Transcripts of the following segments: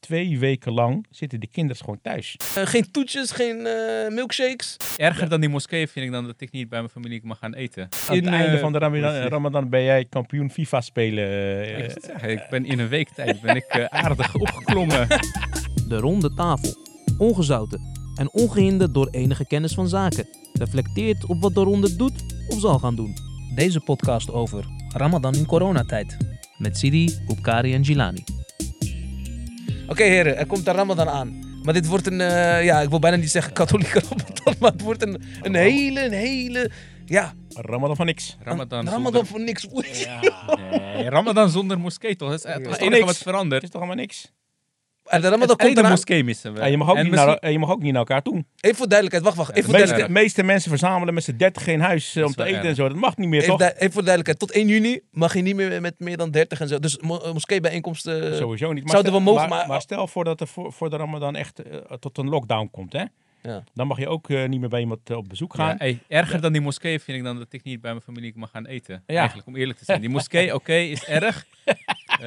twee weken lang zitten de kinderen gewoon thuis. Eh, geen toetjes, geen eh, milkshakes. Erger dan die moskee vind ik dan dat ik niet bij mijn familie mag gaan eten. Aan het In, einde eh, van de Ramadan, Ramadan ben jij kampioen FIFA spelen. eh, Ik, zit te zeggen, ik ben in een week tijd ben ik eh, aardig opgeklommen. De ronde tafel. Ongezouten en ongehinderd door enige kennis van zaken. Reflecteert op wat de ronde doet of zal gaan doen. Deze podcast over Ramadan in coronatijd. Met Sidi, Boukari en Gilani. Oké heren, er komt de Ramadan aan. Maar dit wordt een, eh, ja, ik wil bijna niet zeggen katholieke Ramadan, maar het wordt een, een hele, een hele, ja, Ramadan van niks. Ramadan, een Ramadan voor niks. Oei. zonder, nee, Ramadan zonder moskee toch? Dat is eh, het Ja. enige Niks. wat verandert. Het is toch allemaal niks? En de Ramadan Het komt ene eraan. moskee missen we. Ja, je, mag ook En niet misschien- naar, eh, je mag ook niet naar elkaar toe. Even voor duidelijkheid, wacht, wacht. Ja, Even De voor dat is meeste, duidelijkheid. erg. meeste mensen verzamelen met z'n 30 in huis eh, Dat om is te wel eten erg. en zo. Dat mag niet meer, Even, toch? du- even voor duidelijkheid, tot 1 juni mag je niet meer met meer dan 30 en zo. Dus mo- eh, moskee-bijeenkomsten. Sowieso niet. Maar zouden we stel- mogen, maar, maar- maar stel voor dat er voor, voor de Ramadan echt eh, tot een lockdown komt, hè? Ja. Dan mag je ook eh, niet meer bij iemand eh, op bezoek Ja, gaan. ey, erger dan die moskee vind ik dan dat ik niet bij mijn familie mag gaan eten. Ja. Eigenlijk, om eerlijk te zijn. Die moskee, oké, is erg. Eh,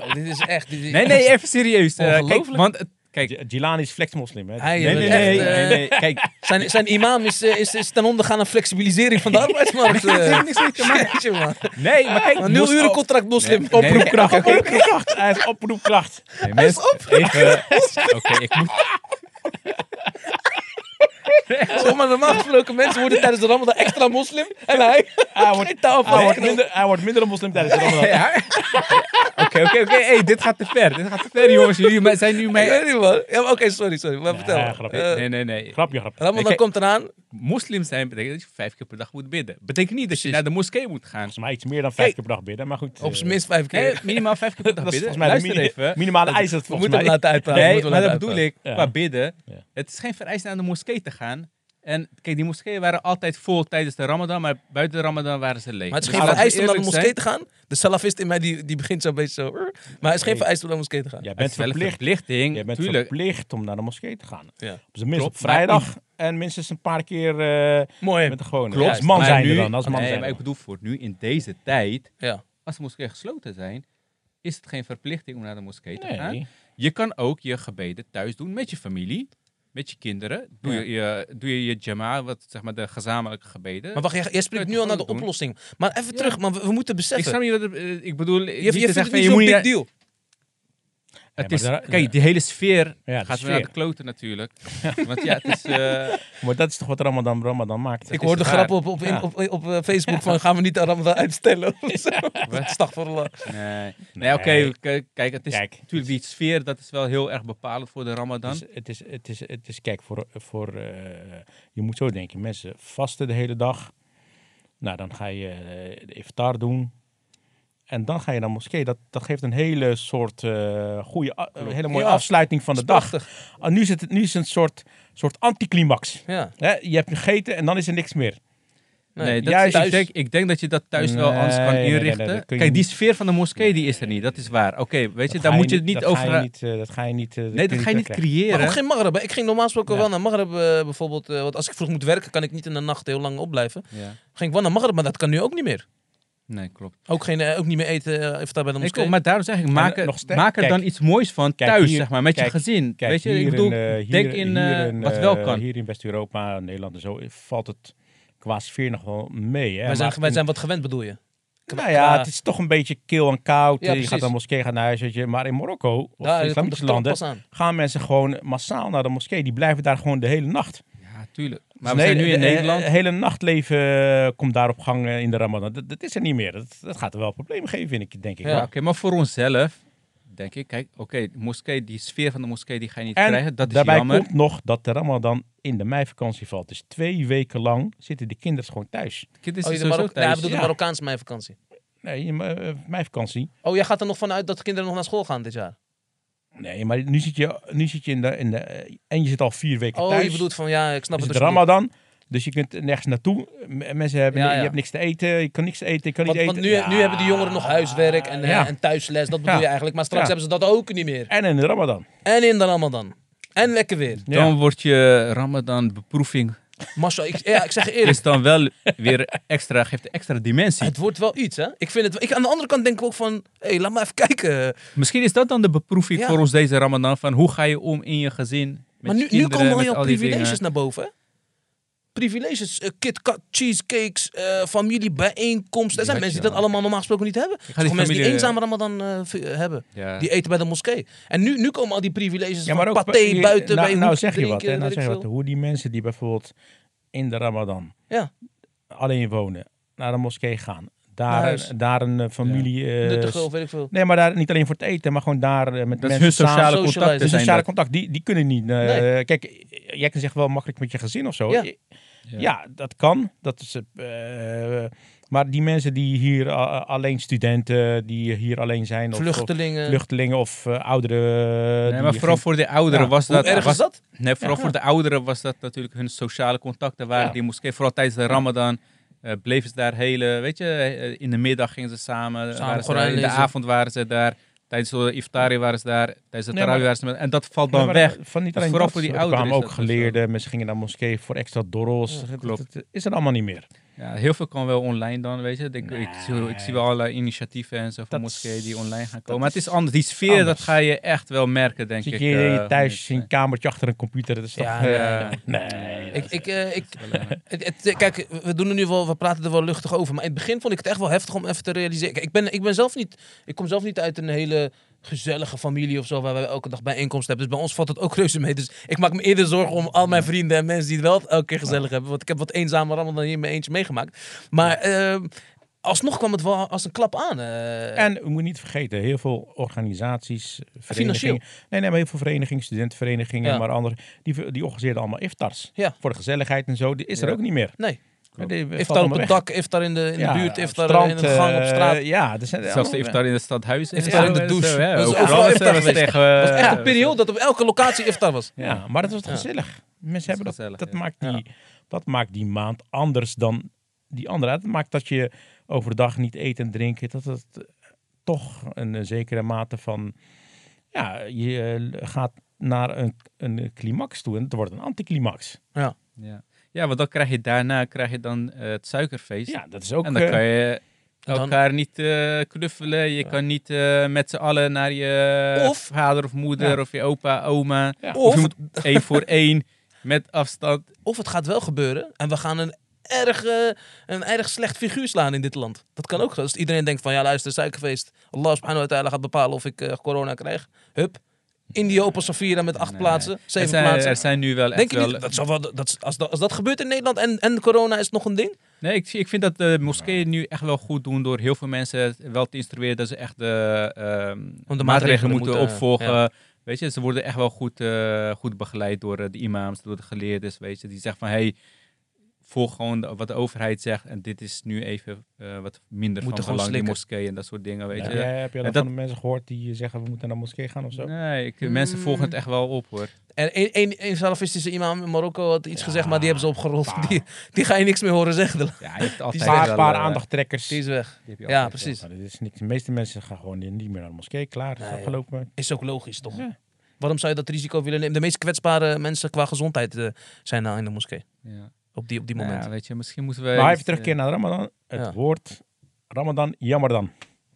Zo, dit is echt. Dit is nee, nee, even serieus. Eh, kijk, Ongelooflijk. want, het- kijk, G- Gilani is flex-moslim, hè? Hij, nee, eh, nee, echt, nee, eh, nee, nee, kijk, Zijn, zijn imam is, eh, is, is ten onder gaan aan flexibilisering van de arbeidsmarkt. eh. Jeetje, man. nee, maar kijk. Een nul mos- oh. uren contract moslim. Nee, nee, Oproepkracht. nee, oké, oké. Oproepkracht. Hij is oproepkracht. Nee, mensen, even- Oké, ik moet... Zeg maar normaal gesproken mensen worden tijdens de Ramadan extra moslim. En hij Ah, Hij wordt, geen touw hij wordt, van. minder, hij wordt minder een moslim tijdens de Ramadan. Ja. Oké, oké, oké. Hey, dit gaat te ver. Dit gaat te ver, jongens. Jullie me- zijn nu Ik Eh, weet mij... niet, man. Ja, maar Oké, sorry, sorry. Maar vertel. ja, grapje. Eh, Nee, nee, nee. Grapje, grapje. Ramadan Nee, kijk. komt eraan. Moslim zijn betekent dat je vijf keer per dag moet bidden. Betekent niet dat je Precies. naar de moskee moet gaan. Volgens mij iets meer dan vijf keer per dag bidden, maar goed. Op eh, zijn minst vijf Nee, keer. minimaal vijf keer per dag dat is volgens Oh, bidden. mij de Luister mini- even. minimale eis. dat We volgens moeten hem mij. laten uitpraten. Nee, moeten we maar dat laten bedoel uitpraten. ik. Ja. Qua bidden. Ja. Het is geen vereiste aan de moskee te gaan. En kijk, die moskeeën waren altijd vol tijdens de ramadan, maar buiten de ramadan waren ze leeg. Maar het is Dus geen laten we vereist om naar de moskee eerlijk te gaan. De salafist in mij die, die begint zo een beetje zo. "Ur." Maar het is geen Nee. vereist om naar de moskee te gaan. Jij zijn. Het bent is wel een verplicht. verplichting, Jij bent tuurlijk. verplicht om naar de moskee te gaan. Ja. Op zijn minst op Klopt, maar in- vrijdag en minstens een paar keer eh, Mooi. met de gewone. Klopt, Als man maar zijn er nu- dan. Als man nee, zijn maar er ik bedoel voor nu, in deze tijd, Ja. als de moskeeën gesloten zijn, is het geen verplichting om naar de moskee te dan. gaan. Nee. Je kan ook je gebeden thuis doen met je familie, met je kinderen. Doe, Ja. je, je, doe je je jama, wat, zeg maar de gezamenlijke gebeden. Maar wacht, jij, jij spreekt Ja, nu al naar de gewoon doen. oplossing. Maar even terug, maar we, we moeten ik beseffen. snap niet wat het- eh, ik bedoel. je, je vindt het niet je zo'n moet big niet- deal. Het Ja, is, maar daar- kijk, die hele sfeer Ja, de gaat weer naar sfeer. de kloten natuurlijk. Want ja, het is... eh, Maar dat is toch wat Ramadan Ramadan maakt. Ik is hoorde waar. grappen op, op, in- Ja. op, op, eh, Facebook van gaan we niet aan Ramadan uitstellen. Stagverla. nee, nee oké, Nee. k- kijk, het is Kijk. natuurlijk die sfeer, dat is wel heel erg bepalend voor de ramadan. Het is, Dus het, is, het, is, het is, kijk, voor, voor, eh, je moet zo denken. Mensen vasten de hele dag. Nou, dan ga je eh, de iftar doen. En dan ga je naar moskee. Dat, dat geeft een hele soort eh, goede, a- een hele mooie Ja. afsluiting van de dag. Prachtig. Ah, nu, is het, nu is het een soort, soort anticlimax. Ja. Hè, je hebt gegeten en dan is er niks meer. nee, nee, dat juist- ik, denk, ik denk dat je dat thuis wel anders kan Nee, nee, nee, inrichten. nee, dat kun je kijk, die niet. sfeer van de moskee, die is er niet, dat is waar. Oké, weet je, Dat daar ga moet je het dat niet ga over... je niet, eh, dat ga je niet... eh, nee, kun dat je ga je niet terugkrijgen. creëren. Maar ook geen Maghreb. hè. Ik ging normaal gesproken Ja. wel naar Maghreb eh, bijvoorbeeld. eh, want als ik vroeg moet werken, kan ik niet in de nacht heel lang opblijven. Ja. Ging ik wel naar Maghreb, maar dat kan nu ook niet meer. Nee, klopt. Ook, geen, eh, ook niet meer eten eh, even daar bij de Nee, moskee. klopt. Maar daarom zeg ik, maak, er- nog sterk- maak er kijk. dan iets moois van Kijk, thuis, hier- zeg maar, met kijk, je gezin. Kijk, weet je, ik hier bedoel, in, eh, denk hier- in, hier eh, in, wat eh, wel kan. Hier in West-Europa, Nederland en zo, eh, valt het qua sfeer nog wel mee. Hè? wij, zijn, Maar wij toen- zijn wat gewend, bedoel je? Nou ja, het is toch een beetje kil en koud. Ja, Eh, je precies. gaat naar de moskee, gaat naar huis. Weet je. Maar in Marokko, of de Daar komt de islamitische klok landen, pas aan. Oh, gaan mensen gewoon massaal naar de moskee. Die blijven daar gewoon de hele nacht. Ja, tuurlijk. Maar we Dus zijn een nu hele- in eh, Nederland. Het hele nachtleven eh, komt daar op gang eh, in de Ramadan. Dat, dat is er niet meer. Dat, dat gaat er wel problemen geven, vind ik, denk ik. Ja. Ja, oké, maar voor onszelf denk ik, kijk, oké, de moskee, die sfeer van de moskee, die ga je niet En krijgen. Dat is Daarbij jammer. komt nog dat de Ramadan in de meivakantie valt. Dus twee weken lang zitten de kinderen gewoon thuis. Kind is Oh, er je de sowieso Marok- thuis. ja, ik bedoel ja. de Marokkaanse meivakantie. Nee, maar, eh, meivakantie. Oh, jij gaat er nog vanuit dat kinderen nog naar school gaan dit jaar? Nee, maar nu zit je, nu zit je in, de, in de... eh, En je zit al vier weken Oh, thuis. je bedoelt van ja, ik snap Dus het. het dus je bedoelt. Ramadan. Dus je kunt nergens naartoe. M- Mensen hebben, Ja, ni- ja. je hebt niks te eten, je kan niks eten, je kan Want, niet want eten. nu, nu Ja. hebben de jongeren nog huiswerk en, eh, Ja. en thuisles, dat bedoel Ja. je eigenlijk. Maar straks Ja. hebben ze dat ook niet meer. En in Dus de Ramadan. En in de Ramadan. En lekker weer. Ja. Dan wordt je Ramadan beproeving Massa, ik, ja, ik zeg je eerlijk. Is dan wel weer extra, geeft extra dimensie. Het wordt wel iets, hè? Ik vind het, ik, aan de andere kant denk ik ook van, hé, laat maar even kijken. Misschien is dat dan de beproeving Ja. voor ons deze Ramadan. Van hoe ga je om in je gezin? Met Maar je nu, nu kinderen, komen al met jouw die privileges dingen. naar boven, hè? Privileges, eh, Kit Kat, cheesecakes, eh familiebijeenkomsten. Er zijn Ja, mensen die ja. dat allemaal normaal gesproken niet hebben. die Sommige mensen die familie- eenzaam Ramadan eh, v- hebben. Ja. Die eten bij de moskee. En nu, nu komen al die privileges Ja, van maar ook paté je- buiten nou, bij nou hoek zeg je wat, hè, drinken, nou weet zeg je ik wat. veel. Hoe die mensen die bijvoorbeeld in de Ramadan Ja. alleen wonen, naar de moskee gaan, Naar daar, huis. een- daar een eh, familie. eh, Nuttig of weet ik veel. nee, maar daar niet alleen voor het eten, maar gewoon daar eh, met Dat is mensen samen- hun sociale socializen. contacten Dus zijn sociale dat. contact, die, die kunnen niet. eh, Nee. Kijk, jij kan zeggen wel makkelijk met je gezin of zo. Ja. Ja, dat kan. Dat is, eh, eh, maar die mensen die hier a- alleen studenten, die hier alleen zijn. Of, Of Vluchtelingen. vluchtelingen of eh, ouderen. Nee, die maar vooral geen- voor de ouderen Ja, was Hoe dat... erg is was- dat? Nee, vooral Ja. voor de ouderen was dat natuurlijk hun sociale contacten waren. Ja. Die moskee, vooral tijdens de ramadan, eh, bleven ze daar hele... Weet je, eh, in de middag gingen ze samen. Samen waren ze, Koran in de lezen. avond waren ze daar. Tijdens de iftari waren ze daar. Tijdens de Nee, maar- tarawih waren ze... met- En dat valt dan Nee, maar eh, weg. Van niet Dus alleen vooral dat, voor die er ouderen kwamen is ook dat dus zo. geleerden. Mensen gingen naar moskee voor extra dorrels. Dat- klopt. dat is er allemaal niet meer. Ja, heel veel kan wel online dan, weet je. Ik, ik, zie, ik zie wel allerlei initiatieven en zo van Dat moskeeën die is- online gaan dat komen. Maar het is is anders. Die sfeer, dat anders. ga je echt wel merken, denk Zit ik. je hier eh, thuis in een kamertje achter een computer. Dat is toch... Ja, eh, ja, ja. Nee. Ik, ik, eh, ik, het, het- kijk, we, doen er nu wel, we praten er wel luchtig over. Maar in het begin vond ik het echt wel heftig om even te realiseren. Kijk, ik, ben, ik, ben zelf niet, ik kom zelf niet uit een hele gezellige familie of zo, waar we elke dag bijeenkomst hebben. Dus bij ons valt het ook reuze mee. Dus ik maak me eerder zorgen om al mijn vrienden en mensen die het wel elke keer gezellig hebben. Want ik heb wat eenzame rammel dan hier in mijn eentje meegemaakt. Maar eh, alsnog kwam het wel als een klap aan. eh. En we moeten niet vergeten, heel veel organisaties, verenigingen. Nee, nee, maar heel veel verenigingen, studentenverenigingen, Ja. maar andere. Die, die organiseerden allemaal iftars. Ja. Voor de gezelligheid en zo. Die is er Ja. ook niet meer. nee, Die valt iftar allemaal op het weg. dak, iftar in de, in Ja, de buurt, iftar strand, in de gang, op eh, straat. ja, er zijn Zelfs de allemaal- iftar in het stadhuis. en Iftar in zo, de en douche. zo, ja. Dat is Overal overal was iftar er geweest. tegen, Het was eh, echt een periode dat op elke locatie iftar was. Ja, maar dat was toch Ja. gezellig. Mensen hebben dat. gezellig, dat, ja. maakt die, dat maakt die maand anders dan die andere. Dat maakt dat je overdag niet eten en drinken. Dat het eh, toch een eh, zekere mate van. Ja, je eh, gaat naar een, een eh, climax toe en het wordt een anticlimax. Ja. ja, want dan krijg je daarna krijg je dan eh, het suikerfeest. Ja, dat is ook. en dan eh, kan je Dan- elkaar niet eh, knuffelen. Je kan niet eh, met z'n allen naar je eh, Of- vader of moeder Ja. of je opa, oma. eh, ja. Of Of, je moet één voor één met afstand. of het gaat wel gebeuren en we gaan een erg, eh, een erg slecht figuur slaan in dit land. Dat kan ook. Als iedereen denkt van ja luister, suikerfeest. Allah subhanahu wa ta'ala gaat bepalen of ik eh, corona krijg. Hup. In die Open Safira met acht Nee. plaatsen, Er zeven zijn, plaatsen. er zijn nu wel Denk echt je wel... niet, dat zal wel, dat, is- als, dat, als dat gebeurt in Nederland en, en corona is nog een ding? Nee, ik, zie- ik vind dat de moskeeën nu echt wel goed doen door heel veel mensen wel te instrueren dat ze echt de, ehm, maatregelen, maatregelen moeten, moeten, eh, opvolgen. ja. Weet je, ze worden echt wel goed, eh, goed begeleid door eh, de imams, door de geleerdes, weet je. Die zeggen van, hey, volg gewoon de- wat de overheid zegt en dit is nu even eh, wat Moeten minder van gewoon belang, die slikken. moskeeën en dat soort dingen, weet Ja, je. ja, heb je dan En dat- van de mensen gehoord die eh, zeggen we moeten naar de moskee gaan of zo? Nee, ik, mensen volgen het echt wel op, hoor. En een, een, een salafistische imam in Marokko had iets Ja, gezegd, maar die hebben ze opgerold. paar. Die, die ga je niks meer horen zeggen. de la- Ja, je hebt altijd Een paar, wel, paar eh, aandachttrekkers. Die is weg. die heb je Ja, altijd wel. precies. Maar dit is niks. De meeste mensen gaan gewoon niet meer naar de moskee. Klaar, Nee, is afgelopen. Is ook logisch, toch? Ja. Waarom zou je dat risico willen nemen? De meest kwetsbare mensen qua gezondheid eh, zijn nou in de moskee. Ja. Op die, op die Nou moment. ja, weet je, misschien moeten we... Maar iets, even terugkeren naar Ramadan. Het eh, Ja. woord Ramadan, jammer dan.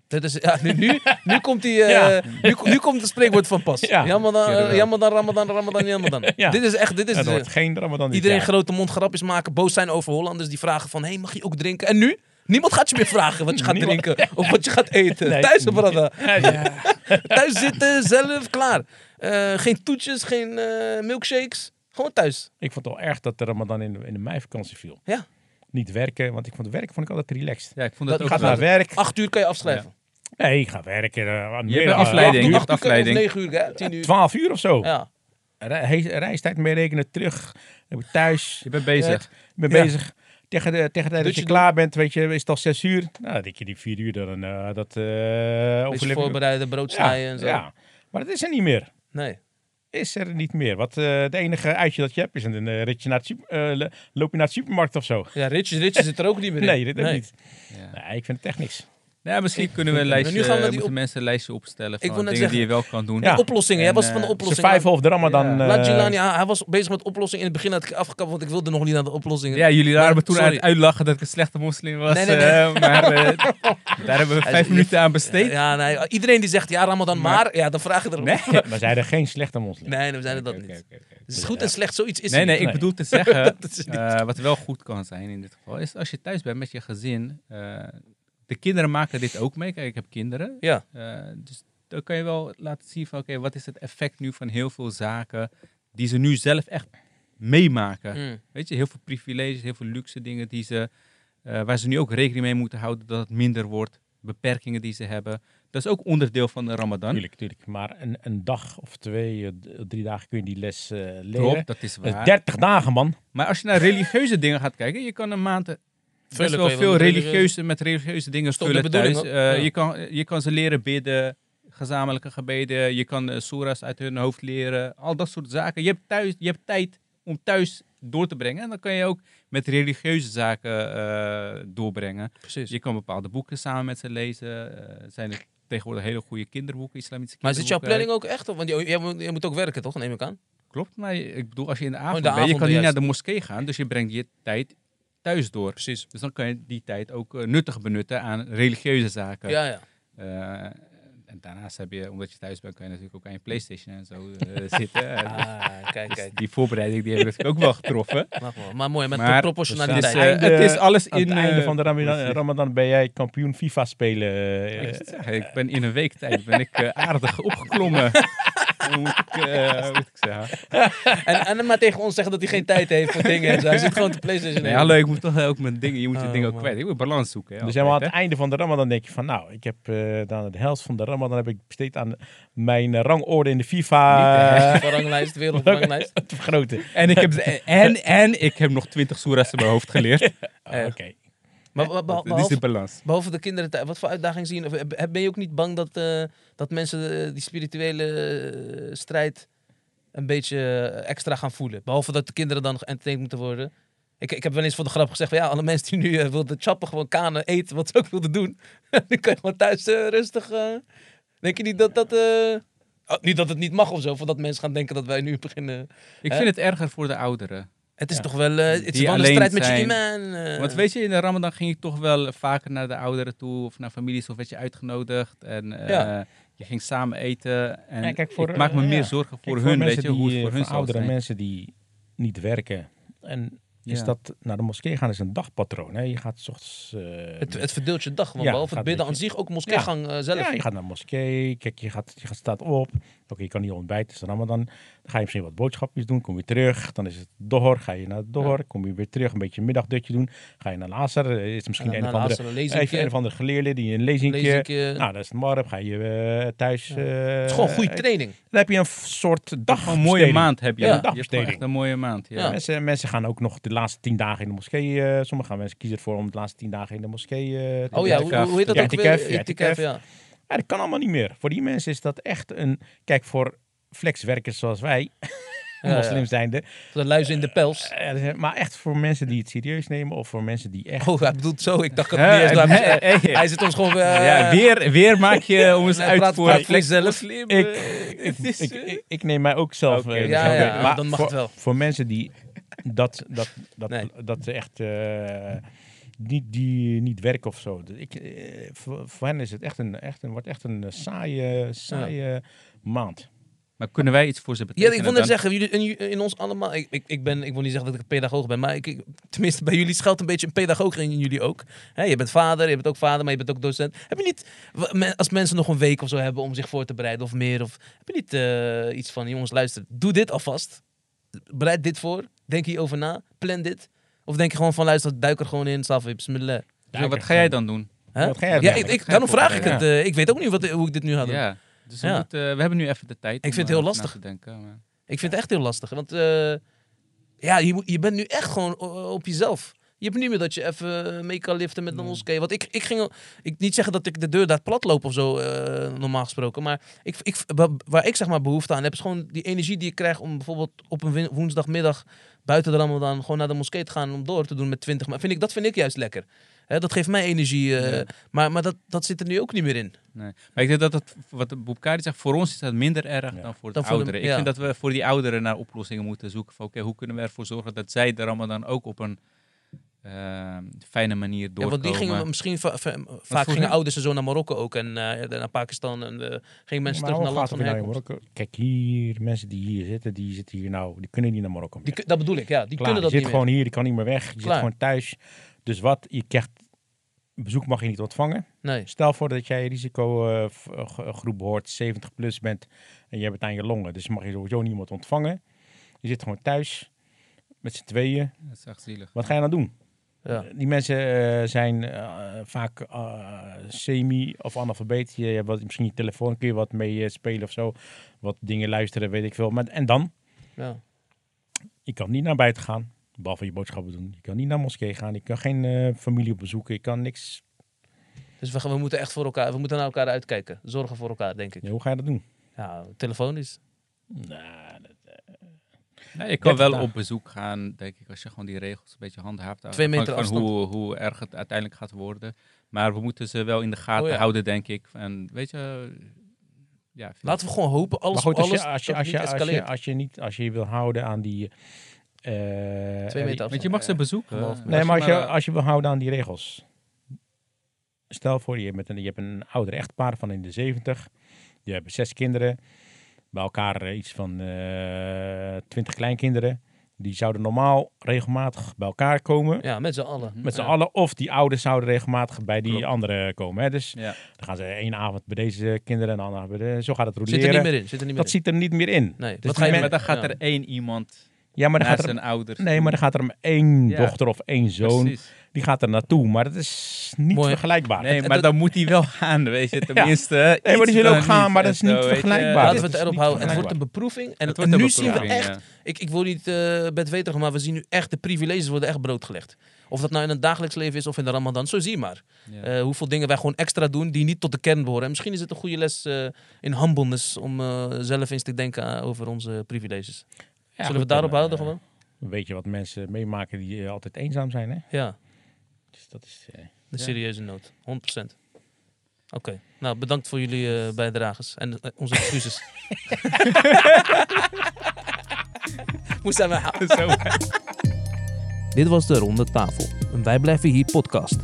Dit is, ja, nu, nu, nu komt die, eh, Ja. nu, nu komt het spreekwoord van pas. Ja. Jammer, dan, Inderdaad. jammer dan, Ramadan, Ramadan, jammer dan. Ja. Dit is echt, dit is Het de- wordt geen Ramadan. dit iedereen jaar. grote mond grapjes maken, boos zijn over Hollanders die vragen van, hé, hey, mag je ook drinken? En nu? Niemand gaat je meer vragen wat je gaat Niemand. drinken of wat je gaat eten. Nee. Thuis, brada. Ja. Thuis zitten, zelf, klaar. Eh, geen toetjes, geen eh, milkshakes. Gewoon thuis. Ik vond het wel erg dat de Ramadan in de, in de meivakantie viel. Ja. Niet werken, want ik vond werk vond ik altijd relaxed. Ja, ik vond dat, Dat Ik ook ga wel. naar werk. Acht uur kan je afschrijven. Nee, ik ga werken. eh, aan meer Je hebt dan- afleiding. acht Je uur, hebt Acht uur kan je- afleiding. of negen uur, hè? Tien uur. 12 uur of zo. Ja. Re- he- Reistijd meerekenen, terug. Dan ben ik thuis. Je bent bezig. Ik ben Ja. bezig. Tegen de, tegen de tijd dat Dutje je doen. klaar bent, weet je, is het al 6 uur. Nou, dan denk je die 4 uur, dan eh dat eh Beetje overleef ik- voorbereiden, brood Ja, snijden en zo. ja, maar dat is er niet meer. Nee. Is er niet meer. Wat, eh, het enige uitje dat je hebt is een eh, ritje naar het super- eh, le- loop je naar het supermarkt of zo. Ja, Ritjes, Ritjes zit er ook niet meer in. Nee, dit ook niet. Ja. Nee, ik vind het echt niks. Nou Ja, misschien Ik kunnen we een vind het- lijstje, Nu gaan we die moeten op- mensen een lijstje opstellen Ik van wil net dingen die je wel kan doen. Ja. Oplossingen, jij En, was van de eh, oplossingen. Survival of the Ramadan. Ja. eh, Laat Gilani aan, hij was bezig met oplossingen. In het begin had ik afgekapt, want ik wilde nog niet naar de oplossingen. Ja, jullie waren Maar, me toen aan sorry. het uitlachen dat ik een slechte moslim was. Nee, nee, nee. eh, maar eh, daar hebben we Hij vijf is- minuten aan besteed. Eh, Ja, nee, iedereen die zegt ja, Ramadan, maar, ja, dan vraag je er. Nee. Nee, we zeiden geen slechte moslim. nee, we zeiden dat Oké, niet. oké, oké, oké. Het is goed en slecht, zoiets is Nee, er nee, niet. ik bedoel te zeggen, Dat is niet- eh, wat wel goed kan zijn in dit geval, is als je thuis bent met je gezin. eh, de kinderen maken dit ook mee. Kijk, ik heb kinderen. Ja. Eh, dus dan kan je wel laten zien van, oké, wat is het effect nu van heel veel zaken die ze nu zelf echt meemaken. Mm. Weet je, heel veel privileges, heel veel luxe dingen die ze, eh, waar ze nu ook rekening mee moeten houden dat het minder wordt. Beperkingen die ze hebben. Dat is ook onderdeel van de Ramadan. Tuurlijk, tuurlijk. Maar een, een dag of twee, eh, d- drie dagen kun je die les eh, leren. Klopt, dat is Dat is waar. 30 dagen, man. Maar als je naar religieuze dingen gaat kijken, je kan een maand eh, best Vullen wel kan je wel veel met religieuze, met religieuze dingen toch de vullen thuis. bedoeling Eh, ook? Ja. je, kan, je kan ze leren bidden, gezamenlijke gebeden, je kan eh, soera's uit hun hoofd leren, al dat soort zaken. Je hebt, thuis, je hebt tijd om thuis door te brengen en dan kan je ook met religieuze zaken eh, doorbrengen. Precies. Je Dus kan bepaalde boeken samen met ze lezen. Eh, er zijn er tegenwoordig hele goede kinderboeken, islamitische Maar zit jouw kinderboeken. planning ook echt? op? Want je, je moet, je moet ook werken, toch? Neem ik aan. Klopt, maar je- ik bedoel, als je in de Oh, avond, de bent, je avond, kan niet juist. naar de moskee gaan, dus je brengt je tijd thuis door. Precies. Dus dan kan je die tijd ook eh, nuttig benutten aan religieuze zaken. Ja, ja. Eh, en daarnaast heb je, omdat je thuis bent, kan je natuurlijk ook aan je Playstation en zo eh, zitten. En Ah, kijk, dus kijk. die voorbereiding die heb ik natuurlijk ook wel getroffen. Maar, maar, maar mooi, met Maar- de Dus, proportionaliteit. Dus, eh, eh, het is alles Aan in... het einde eh, van de Ramadan, precies. Ramadan ben jij kampioen FIFA spelen. eh, Ik, zeg, ik ben in een week tijd ben ik eh, aardig opgeklommen. Hoe moet ik, eh, hoe moet ik zeggen? en, en hem maar tegen ons zeggen dat hij geen tijd heeft voor dingen. en zo. Hij zit gewoon te PlayStation. Nee, hallo, Nou ik moet toch ook mijn dingen, je moet je Oh, dingen ook man. kwijt. Ik moet balans zoeken. hè, dus altijd, helemaal aan hè. het einde van de Ramadan denk je van, nou, ik heb eh, dan de helft van de Ramadan heb ik besteed aan mijn eh, rangorde in de FIFA eh, Van ranglijst, wereldranglijst. te vergroten. En ik heb, ze- en, en ik heb nog twintig soera's in mijn hoofd geleerd. Oh, Oké. Maar be- be- Dat is behalve, de balans. behalve de kinderen, thuis, wat voor uitdaging zien? Of, eh, ben je ook niet bang dat, eh, dat mensen eh, die spirituele eh, strijd een beetje eh, extra gaan voelen? Behalve dat de kinderen dan entertained moeten worden. Ik, ik heb wel eens voor de grap gezegd van ja, alle mensen die nu eh, wilden chappen, gewoon kanen eten, wat ze ook wilden doen. nu kan je gewoon thuis eh, rustig. eh, denk je niet dat dat. eh, oh, niet dat het niet mag of zo, of dat mensen gaan denken dat wij nu beginnen. Ik Hè? vind het erger voor de ouderen. Het is toch wel. eh, het is Die wel een alleen strijd met je zijn. iman. eh. Want weet je, in de ramadan ging je toch wel vaker naar de ouderen toe. Of naar families, of werd je uitgenodigd. En eh, Ja. je ging samen eten. En Ja, kijk, voor, ik maak me eh, meer ja. zorgen voor Kijk, hun, weet mensen je, die, hoe het voor eh, hun zal oudere zijn. mensen die niet werken. En is Ja. dat naar de moskee gaan is een dagpatroon. Hè? Je gaat 's ochtends... eh, Het, het verdeelt je dag, want Ja, behalve het gaat bidden aan een zich, ook moskeegang eh, zelf. Ja, je gaat naar de moskee, kijk, je, gaat, je gaat, staat op. Oké, je kan niet ontbijten, is Ramadan. Dan ga je misschien wat boodschapjes doen, kom je terug. Dan is het door, ga je naar door, kom je weer terug, een beetje een middagdutje doen. Ga je naar Lazar, eh, is misschien En een dan of na andere, laatste even een of andere geleerde die een lezingje. lezing keer. Nou, dat is het morgen, ga je eh, thuis. eh, het is gewoon goede eh, training. Dan heb je een f- soort dag. Gewoon een mooie maand heb je. Ja. Je hebt gewoon Dagbesteding. echt een mooie maand. Ja. Ja. Mensen, mensen gaan ook nog de laatste tien dagen in de moskee. eh, sommige mensen kiezen ervoor om de laatste tien dagen in de moskee eh, te Oh ja, hoe, Itikaf. hoe heet dat Ja, ook itikaf, weer? ja, Itikaf, ja. Ja, dat kan allemaal niet meer. Voor die mensen is dat echt een... Kijk, voor flexwerkers zoals wij, Ja, ja. moslims zijnde... De luizen in de pels. eh, Maar echt voor mensen die het serieus nemen of voor mensen die echt... Oh, hij bedoelt zo. Ik dacht dat het Hè, niet eens waar- hè, eh, hè. Hij zit ons gewoon... eh, Ja, weer, weer maak je om eens hij uit praat- voor praat voor flex- jezelf. moslim, Ik- eh, het is, Ik, eh, ik, ik neem mij ook zelf... Oké, eh, dus ja, ook- ja, dan mag voor, het wel. Voor mensen die dat, dat, dat, Nee. dat ze echt... eh, niet, die niet werken of zo. Dus Ik, eh, voor, voor hen is het echt een, echt een, wordt echt een eh, saaie, saaie maand. Maar kunnen wij iets voor ze Ja, betekenen ik wil net dan? zeggen, jullie- in, ju- in ons allemaal... Ik, ik, ik, ben, ik wil niet zeggen dat ik een pedagoog ben, maar ik, ik- tenminste bij jullie schuilt een beetje een pedagoog in jullie ook. Hè, je bent vader, je bent ook vader, maar je bent ook docent. Heb je niet, wa- men- als mensen nog een week of zo hebben om zich voor te bereiden of meer, of, heb je niet eh, iets van, jongens luister, doe dit alvast. Bereid dit voor, denk hierover na, plan dit. Of denk je gewoon van, luister, duik er gewoon in, salve, bismillah. Ja, wat ga jij dan doen? Hè? Wat ga jij ja, doen? ik, ik, Wat ga je daarom vraag ik voorbereiden? het. eh, ik weet ook niet wat, hoe ik dit nu ga doen. Ja. Dus we, Ja. moeten- we hebben nu even de tijd. vind om, het eh, heel na lastig. te denken, maar- Ik vind het echt heel lastig. Want eh, ja, je, moet- je bent nu echt gewoon eh, op jezelf. Je hebt niet meer dat je even eh, mee kan liften met een moskee. Want ik, ik ging al- ik niet zeggen dat ik de deur daar plat loop of zo, eh, normaal gesproken. Maar ik, ik, wa- waar ik zeg maar behoefte aan heb, is gewoon die energie die ik krijg om bijvoorbeeld op een win- woensdagmiddag buiten de Ramadan gewoon naar de moskee te gaan om door te doen met 20. Maar vind ik, dat vind ik juist lekker. Hè, dat geeft mij energie. eh, Ja. Maar, maar dat, dat zit er nu ook niet meer in. Maar ik denk dat het, wat Boekari zegt, voor ons is dat minder erg Ja. dan voor de Dan voor de- ouderen. ik ja. vind dat we voor die ouderen naar oplossingen moeten zoeken. Van, oké, hoe kunnen we ervoor zorgen dat zij de Ramadan ook op een eh, fijne manier Ja, doorkomen? want die gingen misschien va- va- vaak voor gingen hen- ouders en zo naar Marokko ook en eh, naar Pakistan. En eh, gingen mensen Maar terug hoe naar land gaat van het nou in herkomst. Marokko? Kijk, hier, mensen die hier zitten, die zitten hier nou, die kunnen niet naar Marokko meer. Die, kun- dat bedoel ik, ja. Die Klaar, kunnen dat je niet zit meer. gewoon hier, je kan niet meer weg, je zit Klaar. gewoon thuis. Dus wat, je krijgt, bezoek mag je niet ontvangen. Nee. Stel voor dat jij eh, risicogroep behoort, 70 plus bent en je hebt het aan je longen. Dus mag je sowieso niemand ontvangen. Je zit gewoon thuis met z'n tweeën. Dat is echt zielig. Wat ga je nou doen? Ja. Die mensen eh, zijn eh, vaak eh, semi- of analfabeet. Je hebt wat, misschien je telefoon, kun je wat mee eh, spelen of zo. Wat dingen luisteren, weet ik veel. Maar, en dan? Ja. Je kan niet naar buiten gaan, behalve je boodschappen doen. Je kan niet naar moskee gaan, je kan geen eh, familie bezoeken, je kan niks. Dus we, gaan- we moeten echt voor elkaar, we moeten naar elkaar uitkijken. Zorgen voor elkaar, denk ik. Ja, hoe ga je dat doen? Ja, telefonisch. Nou, dat- Ja, je kan wel dagen. op bezoek gaan, denk ik, als je gewoon die regels een beetje handhaaft. Twee meter van hoe, hoe erg het uiteindelijk gaat worden. Maar we moeten ze wel in de gaten Oh ja. houden, denk ik. En weet je, ja, Laten we gewoon hopen, alles, maar goed, als alles je, als, je, dat als, het je, niet als, je, als, je, escaleert. niet, als je je wil houden aan die. eh, Twee meter Want je mag ze bezoeken. Geloof me. Nee, maar als je, maar, als je wil houden aan die regels. Stel voor, je hebt, met een, je hebt een ouder echtpaar van in de 70. Die hebben zes kinderen. Bij elkaar eh, iets van eh, twintig kleinkinderen. Die zouden normaal regelmatig bij elkaar komen. Ja, met z'n allen. Mhm. Met z'n Ja. allen. Of die ouders zouden regelmatig bij die Klopt. anderen komen. Hè? Dus Ja. dan gaan ze één avond bij deze kinderen en dan avond bij de... Zo gaat het Zit er niet roleren. meer in. Zit er niet Dat meer in. zit er niet meer in. Nee, Dus wat die ga je men- maar dan gaat Ja. er één iemand Ja, maar dan naar gaat er... zijn ouders. Nee, maar dan gaat er maar één Ja. dochter of één zoon. Precies. Die gaat er naartoe. Maar dat is niet Mooi. vergelijkbaar. Nee, En maar dat- dan moet hij wel gaan, weet je. Tenminste. maar iets die zullen ook dan gaan, maar dat en is niet zo, weet je. vergelijkbaar. Laten dit we het is erop niet houden. Het wordt vergelijkbaar. een beproeving. En, Het en wordt een nu zien we beproeving, echt... ja. Ik, ik wil niet eh bedweterig, maar we zien nu echt de privileges worden echt blootgelegd. Of dat nou in het dagelijks leven is of in de ramadan. Zo zie je maar. Ja. Eh, hoeveel dingen wij gewoon extra doen die niet tot de kern behoren. En misschien is het een goede les eh, in humbleness om eh, zelf eens te denken aan- over onze privileges. Ja, Zullen we goed, het daarop dan, houden eh, gewoon? Weet je wat mensen meemaken die eh, altijd eenzaam zijn, hè? Ja, Dus dat is... eh, de Ja. serieuze nood. 100%. Oké, nou bedankt voor jullie eh, bijdrages en eh, onze excuses. Moest aan mijn houden. Zo. Dit was de Ronde Tafel, een Wij Blijven Hier podcast.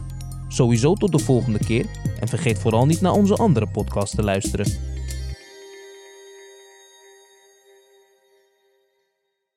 Sowieso tot de volgende keer en vergeet vooral niet naar onze andere podcast te luisteren.